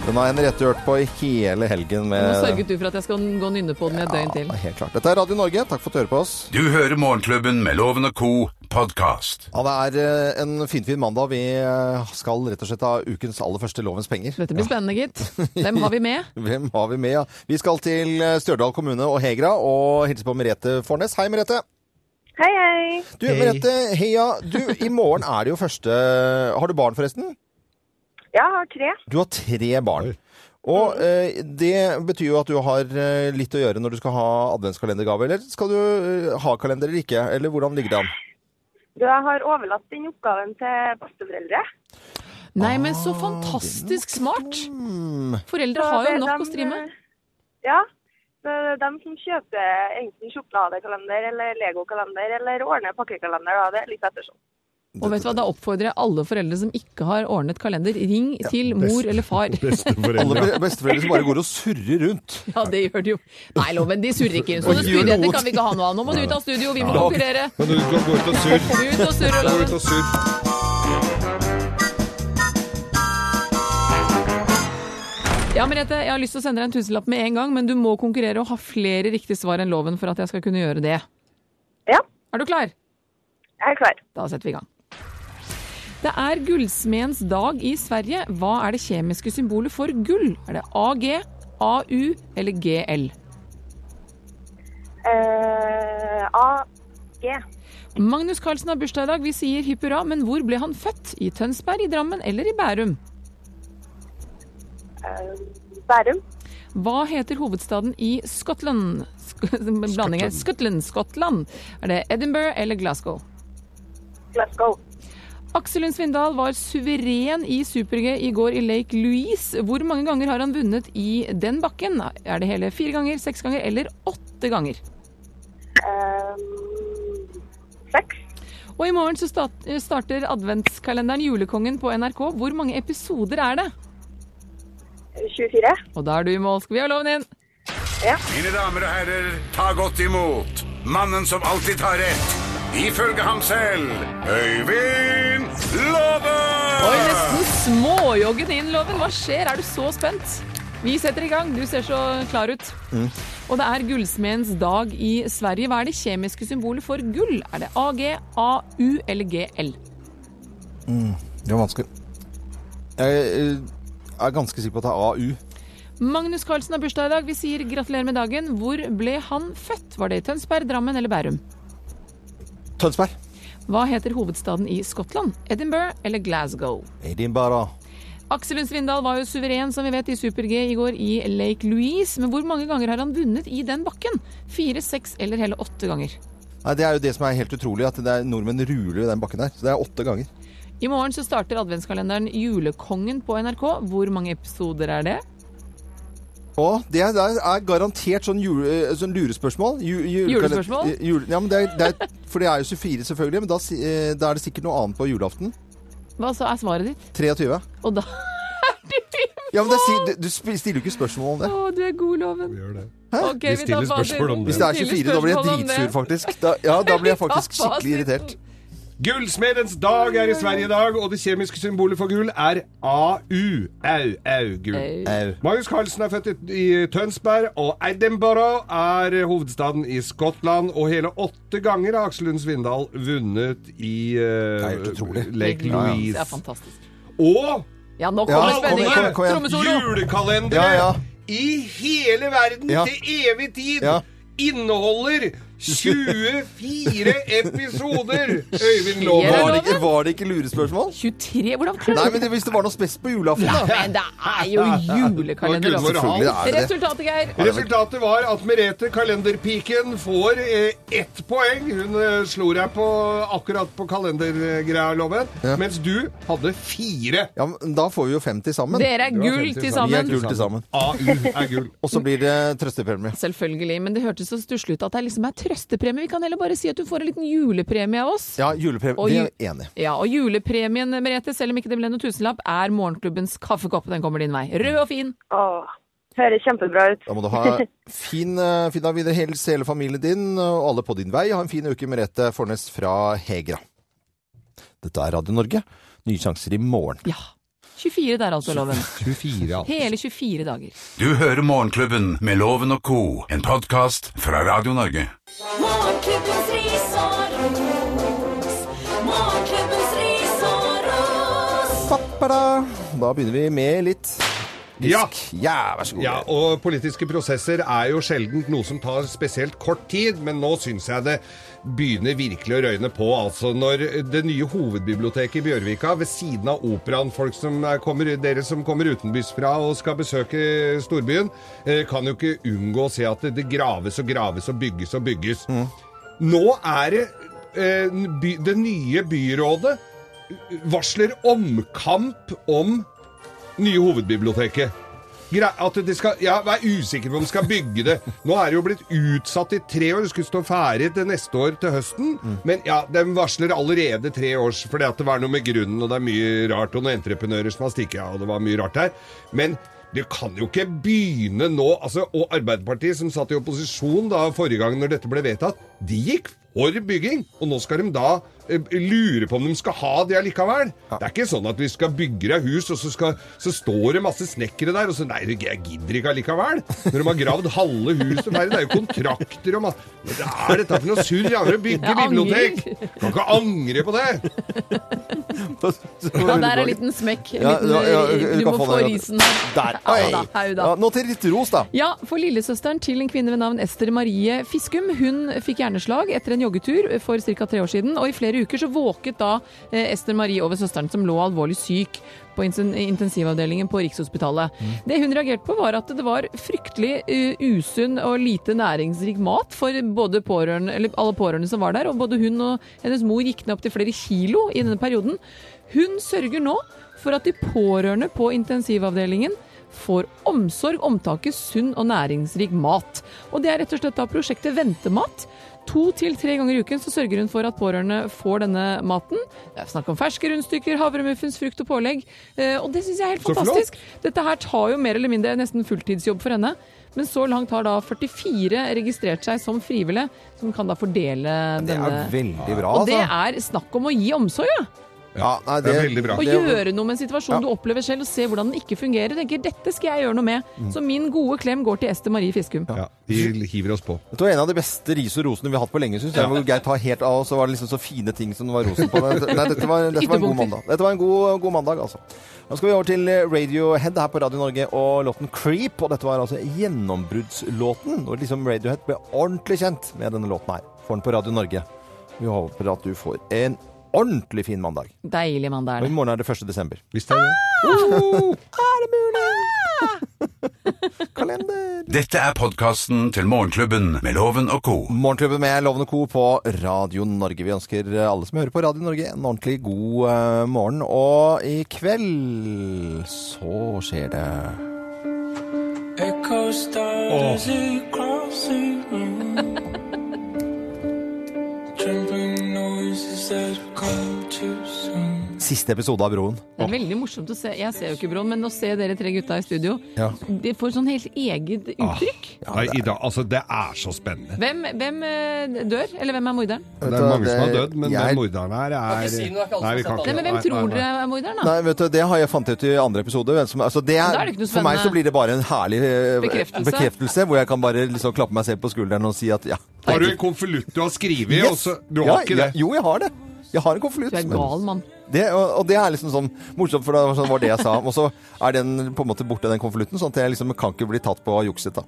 Den har Henriette hørt på i hele helgen Nå Eh. med sørget du for at jeg skal gå og nynne på den i et døgn til. Helt klart. Dette er Radio Norge, takk for at du hører på oss. Du hører Morgenklubben med Loven og Co. podkast. Ja, Det er eh, en finfin mandag. Vi eh, skal rett og slett ha ukens aller første Lovens penger. Dette blir spennende, gitt. Hvem har vi med? Hvem har vi med? Ja? Vi skal til eh, Stjørdal kommune og Hegra og hilse på Merete Fornes. Hei, Merete. Hei, hei. Du, Merete, heia. Du, i morgen er det jo første Har du barn, forresten? Ja, jeg har tre. Du har tre barn. Og eh, det betyr jo at du har eh, litt å gjøre når du skal ha adventskalendergave, eller skal du eh, ha kalender eller ikke? Eller hvordan ligger det an? Du, jeg har overlatt den oppgaven til besteforeldre. Nei, men Ah, så fantastisk smart! Mm. Foreldre Så har det jo er nok dem, å stri med. eh, Ja. Det er dem som kjøper enten sjokoladekalender eller legokalender eller ordner pakkekalender, da. Det er litt ettersom. Og vet du hva, da oppfordrer jeg alle foreldre som ikke har ordnet kalender, ring til mor eller far. Alle be- besteforeldre som bare går og surrer rundt. Ja, det gjør de jo. Nei, Loven, de surrer ikke. Sånne Og gjør noe. spydigheter kan vi ikke ha noe av. Nå må du ut av studio, vi må Ja. konkurrere. Men du kan gå ut og surr. Ut og surr, Gå Loven. ut og surr. Ja, Merete, jeg har lyst til å sende deg en tusenlapp med en gang, men du må konkurrere og ha flere riktige svar enn loven for at jeg skal kunne gjøre det. Ja. Er du klar? Jeg er klar. Da setter vi i gang. Det er gullsmedens dag i Sverige. Hva er det kjemiske symbolet for gull? Er det AG, AU eller GL? Eh, A. G. Magnus Carlsen har bursdag i dag. Vi sier hipp hurra, men hvor ble han født? I Tønsberg, i Drammen eller i Bærum? Eh, Bærum. Hva heter hovedstaden i Skottland? Sk blanding her. Skottland. Skottland. Er det Edinburgh eller Glasgow? Glasgow. Aksel Lund Svindal var suveren i Super-G i går i Lake Louise. Hvor mange ganger har han vunnet i den bakken? Er det hele fire ganger, seks ganger eller åtte ganger? Eh, Og i morgen så stat- starter adventskalenderen Julekongen på NRK. Hvor mange episoder er det? 24. Og da er du i mål. Skal vi ha loven inn? Mine damer og herrer, ta godt imot mannen som alltid tar rett. Ifølge ham selv Øyvind Låve! Oi, nesten småjoggen inn, Loven. Hva skjer? Er du så spent? Vi setter i gang. Du ser så klar ut. Og det er gullsmedens dag i Sverige. Hva er det kjemiske symbolet for gull? Er det AG, AU eller GL? Mm, det var vanskelig. Jeg eh, er ganske sikker på at det er AU. Magnus Carlsen har bursdag i dag. Vi sier gratulerer med dagen. Hvor ble han født? Var det i Tønsberg, Drammen eller Bærum? Tønsberg. Hva heter hovedstaden i Skottland? Edinburgh eller Glasgow? Edinburgh. Aksel Lund Svindal var jo suveren, som vi vet, i Super-G i går i Lake Louise. Men hvor mange ganger har han vunnet i den bakken? Fire, seks eller hele åtte ganger? Nei, det er jo det som er helt utrolig, at det er nordmenn ruler i den bakken der. Så det er åtte ganger. I morgen så starter adventskalenderen Julekongen på NRK. Hvor mange episoder er det? Og det der er garantert sånn, jule, eh, sånn lurespørsmål. Ju- ju- Julespørsmål? eh, Jule, ja, men det er, det er, for det er jo 24 selvfølgelig, men da, si- eh, da er det sikkert noe annet på julaften. Hva så er svaret ditt? 23. Og da Ja, men det, er si- du, du sp- stiller jo ikke spørsmål om det. Å, du er god, Loven. Vi Ok, Vi tar stiller fasiten. spørsmål om Hvis det er Vi 24, stiller da blir jeg spørsmål om det. dritsur faktisk. Da, ja, da blir jeg Vi tar faktisk skikkelig fasiten. irritert. Gullsmedens dag er i Sverige i dag, og det kjemiske symbolet for gull er AU. Au, au, gull. Au. Magnus Carlsen er født i- i Tønsberg, og Edinburgh er hovedstaden i Skottland. Og hele åtte ganger har Aksel Lund Svindal vunnet i eh, Lake Louise. Det er fantastisk. Og Ja, nå kommer spenningen. Trommesolo! Julekalendere Ja, ja. i hele verden Ja. til evig tid Ja. inneholder 24 episoder! Øyvind Loven. Var det, ikke, var det ikke lurespørsmål? 23? Hvordan Nei, men det, Hvis det var noe spes på julaften, Ja, da. men det er jo julekalender. Nå kunne altså. man ha alt. Resultatet, Geir. Resultatet var at Merete Kalenderpiken får eh, ett poeng. Hun eh, slo deg på akkurat på kalendergreia, Loven. Mens du hadde fire. Ja, men Da får vi jo 50 sammen. Dere er Du har 50 gull til Vi er sammen. gull til sammen. AU er gull. Og så blir det trøstepremie. Selvfølgelig, men det hørtes så stusslig ut at det liksom er trøstepremie. Vi kan heller bare si at du får en liten julepremie av oss. Ja, julepremie. Og Vi ju- er enige. Ja, og julepremien, Merete, selv om ikke det ble noe tusenlapp, er morgenklubbens kaffekopp. Den kommer din vei. Rød og fin. Åh, høres kjempebra ut. Da må du ha fin, eh, fin dag videre, hils hele familien din og alle på din vei. Ha en fin uke, Merete Fornes fra Hegra. Dette er Radio Norge. Nye sjanser i morgen. Ja. 24 der altså, Loven. 24, ja. Hele 24 dager. Du hører Morgenklubben med Loven og co., en podkast fra Radio Norge. Morgenklubbens ris og ros. Morgenklubbens ris og ros. Pappada. Da begynner vi med litt Ja. Ja, vær så god. Ja, og politiske prosesser er jo sjelden noe som tar spesielt kort tid, men nå syns jeg det begynner virkelig å røyne på. Altså når det nye hovedbiblioteket i Bjørvika, ved siden av operaen, folk som er, kommer, dere som kommer utenbys fra og skal besøke storbyen, eh, kan jo ikke unngå å se at det, det graves og graves og bygges og bygges. Nå er det eh, by, det nye byrådet varsler omkamp om nye hovedbiblioteket. Grei- At de skal, ja, Vær usikker på om de skal bygge det. Nå er det jo blitt utsatt i tre år. Det skulle stå ferdig til neste år til høsten. Men ja, de varsler allerede tre års fordi at det var noe med grunnen, og det er mye rart. Og noen entreprenører som har stikket av, og det var mye rart her. Men det kan jo ikke begynne nå. altså, Og Arbeiderpartiet, som satt i opposisjon da forrige gang når dette ble vedtatt, de gikk for bygging. Og nå skal de da eh, lure på om de skal ha det allikevel. Det er ikke sånn at vi skal bygge deg hus, og så, skal, så står det masse snekkere der, og så Nei, jeg gidder ikke allikevel. Når de har gravd halve huset her, det er jo kontrakter og masse Men det er dette for noe surr? Jeg har å bygge Jeg angrer. bibliotek! Kan ikke angre på det! Ja, der er en liten smekk. En Ja, liten, eh, ja, ja, du du kan må få få den, ja. risen her. Der. Au da, Oi. au da. Ja, nå til litt ros, da. Ja, for lillesøsteren til en kvinne ved navn Ester Marie Fiskum, hun fikk hjerneslag etter en joggetur for ca. tre år siden, og i flere uker så våket da eh, Ester Marie over søsteren som lå alvorlig syk på insen- intensivavdelingen på Rikshospitalet. Det hun reagerte på var at det var fryktelig eh, usunn og lite næringsrik mat for både pårørende, eller alle pårørende som var der, og både hun og hennes mor gikk ned opp til flere kilo i denne perioden. Hun sørger nå for at de pårørende på intensivavdelingen får omsorg, omtanke, sunn og næringsrik mat. Og det er rett og slett da prosjektet Ventemat. To til tre ganger i uken så sørger hun for at pårørende får denne maten. Det er snakk om ferske rundstykker, havremuffins, frukt og pålegg. Eh, Og det syns jeg er helt Så flott. fantastisk. Dette her tar jo mer eller mindre nesten fulltidsjobb for henne. Men så langt har da 44 registrert seg som frivillige, som kan da fordele Det denne. er veldig bra, og det altså. er snakk om å gi omsorg, ja. Ja, nei, det er veldig bra. Å gjøre noe med en situasjon Ja. du opplever selv, og se hvordan den ikke fungerer. Tenker, dette skal jeg gjøre noe med. Mm. Så min gode klem går til Ester Marie Fiskum. Ja, Vi hiver oss på. Det var en av de beste ris og rosene vi har hatt på lenge, syns jeg. Hvor Geir tar helt av, og så var det liksom så fine ting som det var rosen på. Nei, dette var, dette var en god Ytterpunkter. mandag. Dette var en god, god mandag, altså. Nå skal vi over til eh, Radiohead her på Radio Norge og låten 'Creep'. Og dette var altså gjennombruddslåten. Og liksom Radiohead ble ordentlig kjent med denne låten her. Får den på Radio Norge. Vi håper at du får en ordentlig fin mandag. Deilig mann det Og i er. morgen er det 1. desember. Hvis det er Ah, det. Ah! Dette er podkasten til Morgenklubben med Loven og co. Morgenklubben med Lovende Co. på Radio Norge. Vi ønsker alle som hører på Radio Norge, en ordentlig god eh, morgen. Og i kveld så skjer det Siste episode av Broen. Det er veldig morsomt å se. Jeg ser jo ikke Broen, men å se dere tre gutta i studio, Ja. Ah. de får sånn helt eget uttrykk. ah. Nei, i dag, altså, det er så spennende. Hvem, hvem eh, dør, eller hvem er morderen? Vet Det du er hva, mange som har det- dødd, men jeg- den morderen her Kan ikke er si noe, det er ikke alle som har sett Nei, men Hvem Nei, tror nei, nei. dere er morderen, da? Nei, vet du, Det har jeg fant ut i andre episode. Hvem som, altså det er, Ah. Da er det ikke noe for meg spennende. så blir det bare en herlig eh, Bekreftelse. bekreftelse, hvor jeg kan bare liksom klappe meg selv på skulderen og si at ja. Har du en konvolutt du har skrevet? Yes! og så- du ja, har ikke det? ja, Jo, jeg har det. Jeg har en konvolutt. Du er men- gal mann. Det, og, og det er liksom sånn morsomt, for det var sånn- var det jeg sa. Og så er den på en måte borte, den konvolutten, sånn at jeg liksom kan ikke bli tatt på jukset, da.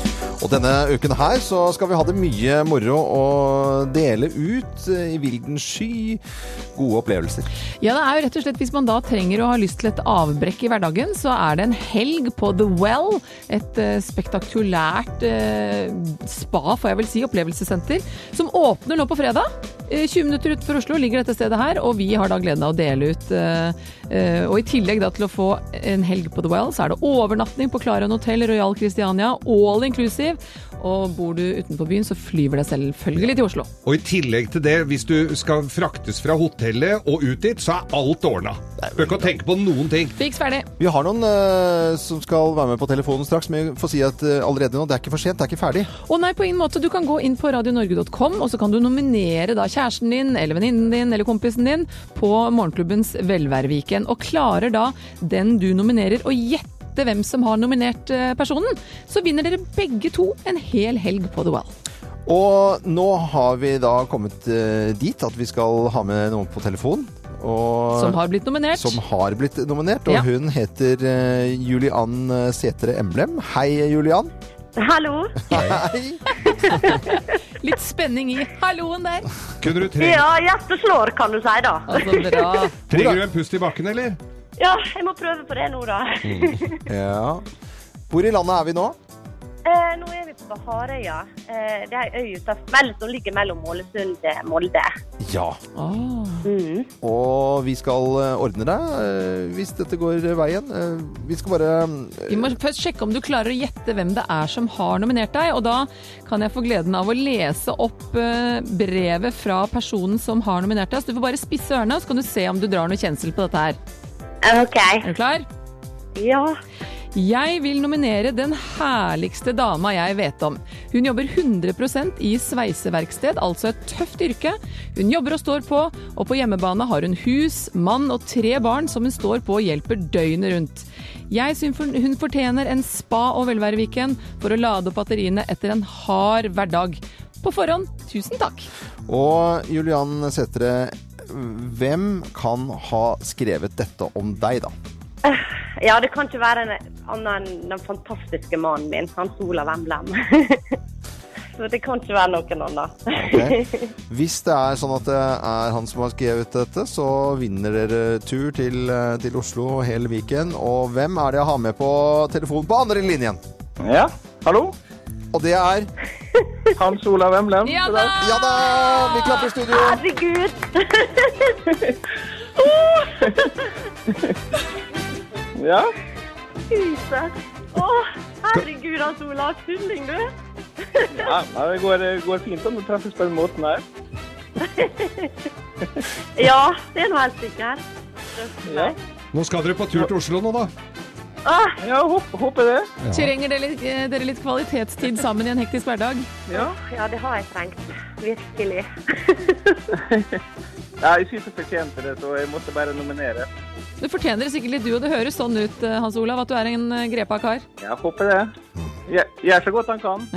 Og denne uken her så skal vi ha det mye moro å dele ut eh, i vilden sky. Gode opplevelser. Ja, det er jo rett og slett Hvis man da trenger og har lyst til et avbrekk i hverdagen, så er det en helg på The Well. Et eh, spektakulært eh, spa, får jeg vel si, opplevelsessenter, som åpner nå på fredag. Eh, 20 minutter utenfor Oslo ligger dette stedet her, og vi har da gleden av å dele ut. eh, eh, og i tillegg da til å få en helg på The Well, så er det overnatting på Clarion Hotel Royal Christiania, all inclusive. Og bor du utenfor byen, så flyver det selvfølgelig til Oslo. Og i tillegg til det, hvis du skal fraktes fra hotellet og ut dit, så er alt ordna. Bør ikke å tenke på noen ting. Fiks ferdig. Vi har noen eh, som skal være med på telefonen straks, men jeg får si at eh, allerede nå, det er ikke for sent, det er ikke ferdig. Å nei, på ingen måte. Du kan gå inn på radionorge.com, og så kan du nominere da kjæresten din, eller venninnen din, eller kompisen din på Morgenklubbens velværeviken. Og klarer da den du nominerer å gjette hvem som har nominert eh, personen, så vinner dere begge to en hel helg på The Well. Og nå har vi da kommet eh, dit at vi skal ha med noen på telefon. Og, Som har blitt nominert. Som har blitt nominert, og Ja. hun heter eh, Juliann Setre Emblem. Hei, Juliann. Hallo. Hei. Litt spenning i halloen der. Kunne du trenge, Ja, hjertet slår, kan du si, da. Altså, trenger du en pust i bakken, eller? Ja, jeg må prøve på det nå, da. Ja. Hvor i landet er vi nå? Eh, nå er vi på Harøya. Eh, det er ei øy utenfor Mel- som ligger mellom Ålesund og Molde. Ja. Mm. Og vi skal eh, ordne deg eh, hvis dette går eh, veien. Eh, Vi skal bare Vi må først sjekke om du klarer å gjette hvem det er som har nominert deg, og da kan jeg få gleden av å lese opp eh, brevet fra personen som har nominert deg. Så du får bare spisse ørene, så kan du se om du drar noe kjensel på dette her. Ok. Er du klar? Ja. Jeg vil nominere den herligste dama jeg vet om. Hun jobber 100 i sveiseverksted, altså et tøft yrke. Hun jobber og står på, og på hjemmebane har hun hus, mann og tre barn som hun står på og hjelper døgnet rundt. Jeg syns hun- hun fortjener en spa- og velværeweekend for å lade opp batteriene etter en hard hverdag. På forhånd, tusen takk. Og Juliann Setre, hvem kan ha skrevet dette om deg, da? ja, det kan ikke være en, annen enn den fantastiske mannen min, Hans Olav Emblem. Så det kan ikke være noen annen. Ok. Hvis det er sånn at det er han som har skrevet dette, så vinner dere tur til, eh, til Oslo og hele Viken. Og hvem er det jeg har med på telefonen på andre linjen? Ja, hallo? Og det er Hans Olav Emlem. Ja da! Ja da! Vi klapper i studio. Herregud! Ja, Jesus. Å, herregud, Hans Olav. Tulling, du. ja nei, det går, det går fint om du treffes på den måten her. Ja, det er nå helt sikkert. Ja. Nå skal dere på tur til Oslo nå, da. Ja, håper det. Trenger dere, litt- eh, dere litt kvalitetstid sammen i en hektisk hverdag? Ja. ja, det har jeg trengt. Virkelig. Ja, jeg synes jeg fortjente det, så jeg måtte bare nominere. Du fortjener det sikkert litt du, og det høres sånn ut, eh, Hans Olav, at du er en eh, grepa kar. Jeg håper det. Jeg gjør så godt han kan.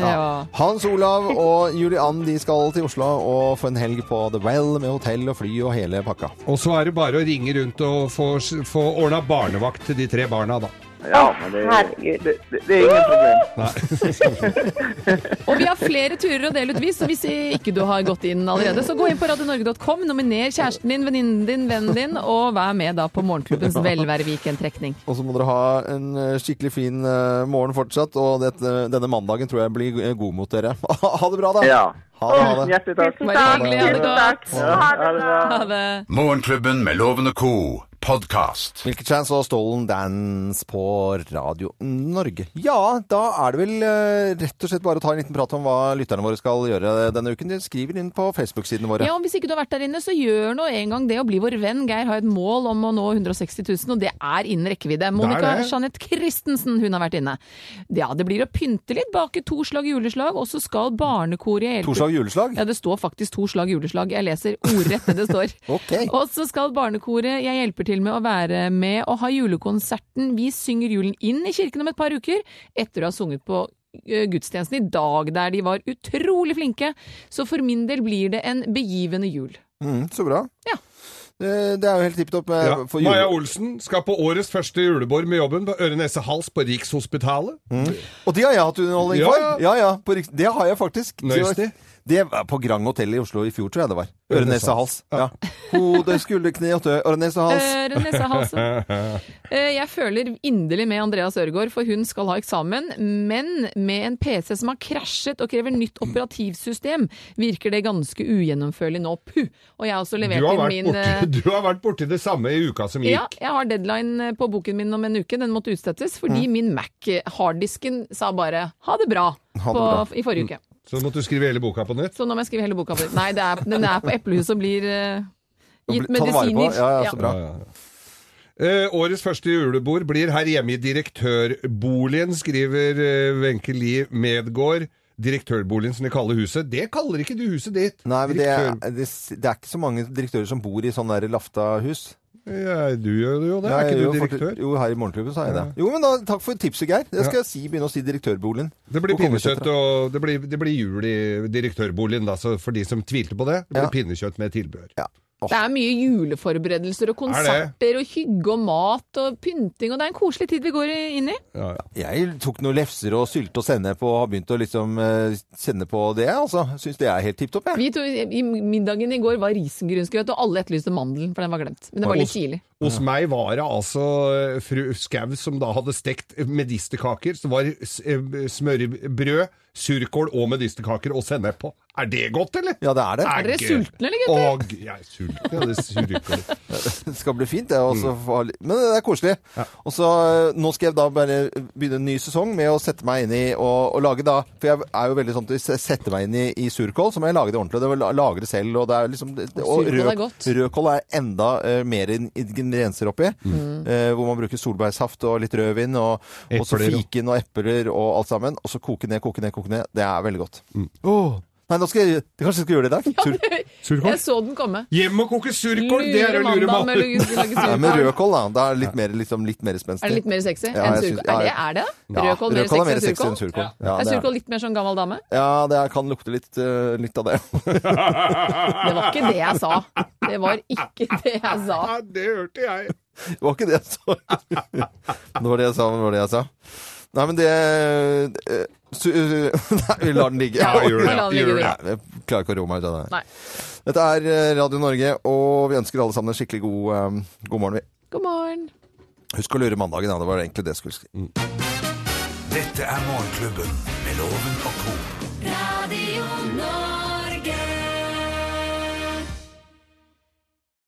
Hans Olav og Juliann de skal til Oslo og få en helg på The Well med hotell og fly og hele pakka. Og så er det bare å ringe rundt og få, få ordna barnevakt til de tre barna, da. Ja, men det, det, det, det er ingen problem. Og vi har flere turer å dele ut, vi, så hvis ikke du har gått inn allerede, så gå inn på radionorge.com, nominer kjæresten din, venninnen din, vennen din, og vær med da på Morgenklubbens velværeweekend-trekning. Og så må dere ha en eh, skikkelig fin eh, morgen fortsatt, og dette, denne mandagen tror jeg blir eh, god mot dere. ha det bra, da! Ja. Ha det, ha det. Hjertelig takk. Bare hyggelig. Ha det godt. Morgenklubben med Loven og co. podkast. Milky Chance og Stolen Dance på Radio Norge. Ja, da er det vel eh, rett og slett bare å ta en liten prat om hva lytterne våre skal gjøre denne uken. De skriver inn på Facebook-sidene våre. Ja, og Hvis ikke du har vært der inne, så gjør nå en gang det å bli vår venn. Geir har et mål om å nå 160 000, og det er innen rekkevidde. Monica det. Jeanette Christensen hun har vært inne. Ja, Det blir å pynte litt, bake to slag juleslag, og så skal barnekoret i Elpe- Torsdag juleslag? Ja, det står faktisk to slag juleslag. Jeg leser ordrett det det står. Og så skal barnekoret Jeg hjelper til med å være med og ha julekonserten Vi synger julen inn i kirken om et par uker, etter å ha sunget på eh, gudstjenesten i dag, der de var utrolig flinke. Så for min del blir det en begivende jul. Mm, så bra. Eh, Det er jo helt tipp topp. Ja. Maja Olsen skal på årets første julebord med jobben på øre-nese-hals på Rikshospitalet. Og de har jeg hatt underholdning Ja, for. ja. Ja, ja. På, Riks- det har jeg faktisk. Det var- Nøyaktig. Det var på Grand Hotel i Oslo i fjor, tror jeg det var. Øre, nese, hals. Ørenese-hals. Ja. Hode, skulder, kne og tø. Øre, nese, hals. Øre, nese, hals, Eh, Jeg føler inderlig med Andreas Ørgaard, for hun skal ha eksamen. Men med en PC som har krasjet og krever nytt operativsystem, virker det ganske ugjennomførlig nå. Puh! Og jeg har også Du levert har, inn vært min eh, borti, du har vært borti det samme i uka som gikk. ja, jeg har deadline eh, på boken min om en uke. Den måtte utsettes fordi min Mac eh, harddisken sa bare ha det bra, på, Ha det bra. i forrige uke. Så måtte du skrive hele boka på nytt. Så nå må jeg skrive hele boka på nytt. Nei, det er, den er på Eplehuset og blir eh, gitt Ta det vare på. medisiner. Ja, ja, ja. Eh, årets første julebord blir her hjemme i direktørboligen, skriver eh, Wenche Lie Medgård. Direktørboligen som de kaller huset. Det kaller ikke du huset ditt. Nei, men det, er- det, s- det er ikke så mange direktører som bor i sånne der Lafta-hus. Ja, du gjør jo det. Nei, er ikke jo, du for- direktør? Jo, her i Morgenklubben sa jeg det. Jo, men da, takk for tipset, Geir. Jeg skal Ja. si, begynne å si direktørboligen. Det blir På Kongesetra. pinnekjøtt, og det blir, det blir jul i direktørboligen, da, så for de som tvilte på det. Det blir pinnekjøtt med tilbehør. Det er mye juleforberedelser og konserter og hygge og mat og pynting, og det er en koselig tid vi går i- inn i. Jeg tok noen lefser og sylte og sennep og har begynt å liksom eh, kjenne på det, altså. Syns det er helt tipp topp, jeg. Vi to, i middagen i går var risengrynsgrøt, og alle etterlyste mandelen, for den var glemt. Men det var litt Hos- tidlig. Hos meg var det altså eh, fru Skau som da hadde stekt medisterkaker. Så det var s- eh, smørbrød, surkål og medisterkaker og sennep på. Er det godt, eller? Ja, det er det. Er dere sultne, eller, gutter? Og, jeg er sulten, ja. Det er surkål. Det skal bli fint, det. og så Mm. få ha litt- Men det er koselig. Og så eh, Nå skal jeg da bare begynne en ny sesong med å sette meg inn i og, og lage da For jeg er jo veldig sånn at hvis jeg setter meg inn i, i surkål, så må jeg lage det ordentlig. Det vil la- lage det selv, og det er liksom det- Og Surkål er rød, godt. rødkål er enda eh, mer in- ingredienser oppi. Mm. Mm. eh, hvor man bruker solbærsaft og litt rødvin, og, og så Epler, ja. fiken og epler og alt sammen. Og så koke ned, koke ned, koke ned. Det er veldig godt. Åh, Nei, nå skal jeg, kanskje jeg skal gjøre det i dag? Sur, Jeg så den komme. Hjem og koke surkål, det er å Lure lure mandag med mannen. å lage surkål. Ja, med rødkål, da. Da er det litt mer, liksom, litt mer spenstig. Er det litt mer sexy Ja, enn jeg syns- surkål? ja, Er det ja. er det? Ja, Rødkål mer rødkål er mer sexy sexy enn enn surkål. surkål? Ja, er det er surkål litt mer sånn gammel dame? Ja, det er- kan lukte litt, øh, litt av det. Det var ikke det jeg sa. Det var ikke det jeg sa. Det hørte jeg. Det var ikke det jeg sa. Det var det jeg sa, det var det jeg sa. Nei, men det eh, su, Nei, vi lar den ligge. Ja, gjør det. Ja, gjør det. Nei, jeg klarer ikke å roe meg ut av det. Nei. Dette er eh, Radio Norge, og vi ønsker alle sammen en skikkelig god, eh, god morgen. vi. God morgen. Husk å lure mandagen, ja. Det var egentlig det jeg skulle si. Dette er Morgenklubben med Loven og co.